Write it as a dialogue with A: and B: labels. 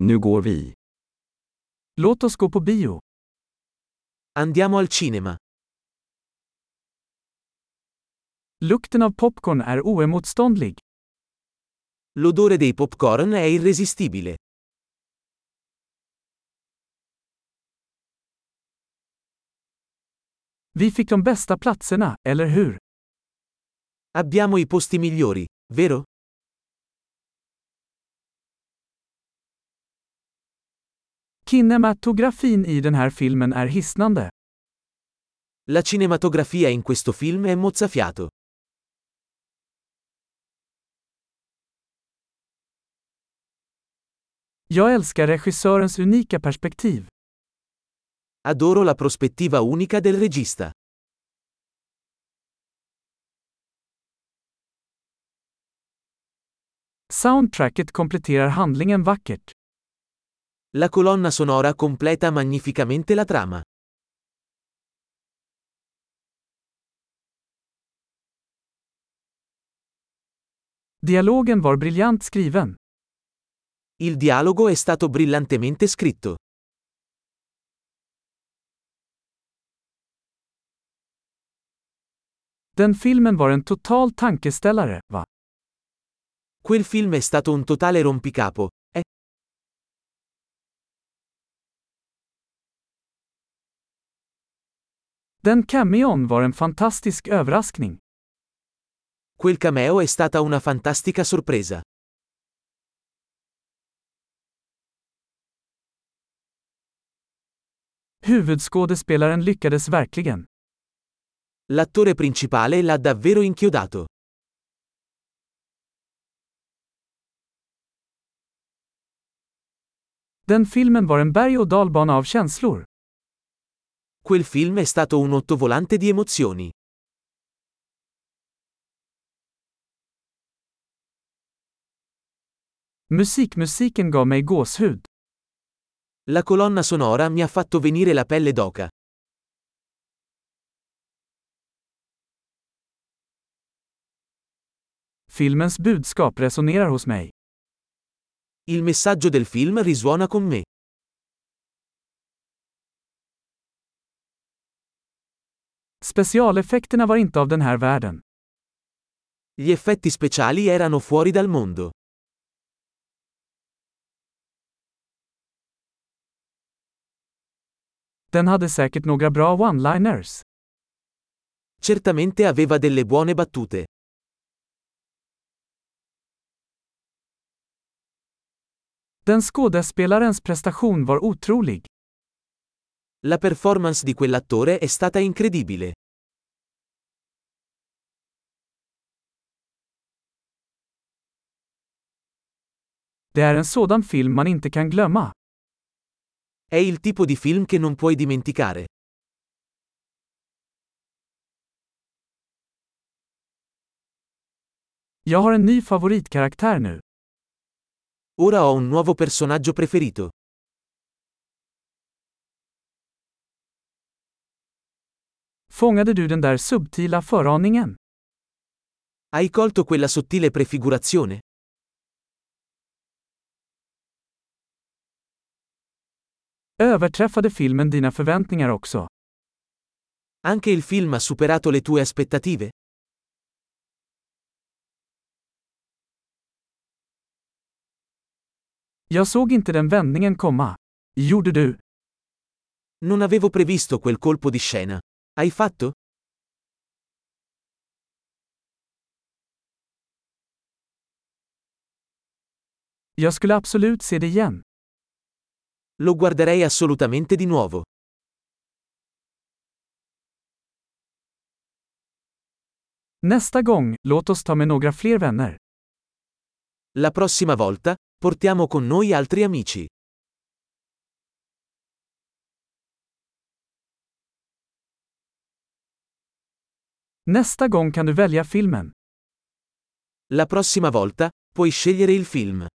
A: Nu går vi.
B: Låt oss gå på bio.
C: Andiamo al cinema.
B: Lukten av popcorn är oemotståndlig.
C: L'odore dei popcorn è irresistibile.
B: Vi fick de bästa platserna, eller hur?
C: Abbiamo i posti migliori, vero?
B: Kinematografin i den här filmen är hisnande.
C: La cinematografia in questo film è mozzafiato.
B: Jag älskar regissörens unika perspektiv.
C: Adoro la prospettiva unica del regista.
B: Soundtracket kompletterar handlingen vackert.
C: La colonna sonora completa magnificamente la trama.
B: Dialogen var briljant skriven.
C: Il dialogo è stato brillantemente scritto.
B: Den filmen var en total tankeställare, va?
C: Quel film è stato un totale rompicapo, eh?
B: Den cameon var en fantastisk överraskning.
C: Quel cameo è stata una fantastica sorpresa.
B: Huvudskådespelaren lyckades verkligen.
C: L'attore principale l'ha davvero inchiodato.
B: Den filmen var en berg- och dalbana av känslor.
C: Quel film è stato un ottovolante di emozioni.
B: Musikmusiken gav mig gåshud.
C: La colonna sonora mi ha fatto venire la pelle d'oca.
B: Filmens budskap resonerar hos mig.
C: Il messaggio del film risuona con me.
B: Specialeffekterna var inte av den här världen.
C: Gli effetti speciali erano fuori dal mondo.
B: Den hade säkert några bra one-liners.
C: Certamente aveva delle buone battute.
B: Den skådespelarens prestation var otrolig.
C: La performance di quell'attore è stata incredibile.
B: Det är en sådan film man inte kan glömma.
C: È il tipo di film che non puoi dimenticare.
B: Jag har en ny favoritkaraktär nu.
C: Ora ho un nuovo personaggio preferito.
B: Fångade du den där subtila föraningen?
C: Hai colto quella sottile prefigurazione?
B: Överträffade filmen dina förväntningar också?
C: Anche il film ha superato le tue aspettative?
B: Jag såg inte den vändningen komma. Gjorde du?
C: Non avevo previsto quel colpo di scena. Hai fatto?
B: Jag skulle absolut se det igen.
C: Lo guarderei assolutamente di nuovo.
B: Nästa gång, låt oss ta med några fler vänner.
C: La prossima volta, portiamo con noi altri amici.
B: Nästa gång kan du välja filmen.
C: La prossima volta, puoi scegliere il film.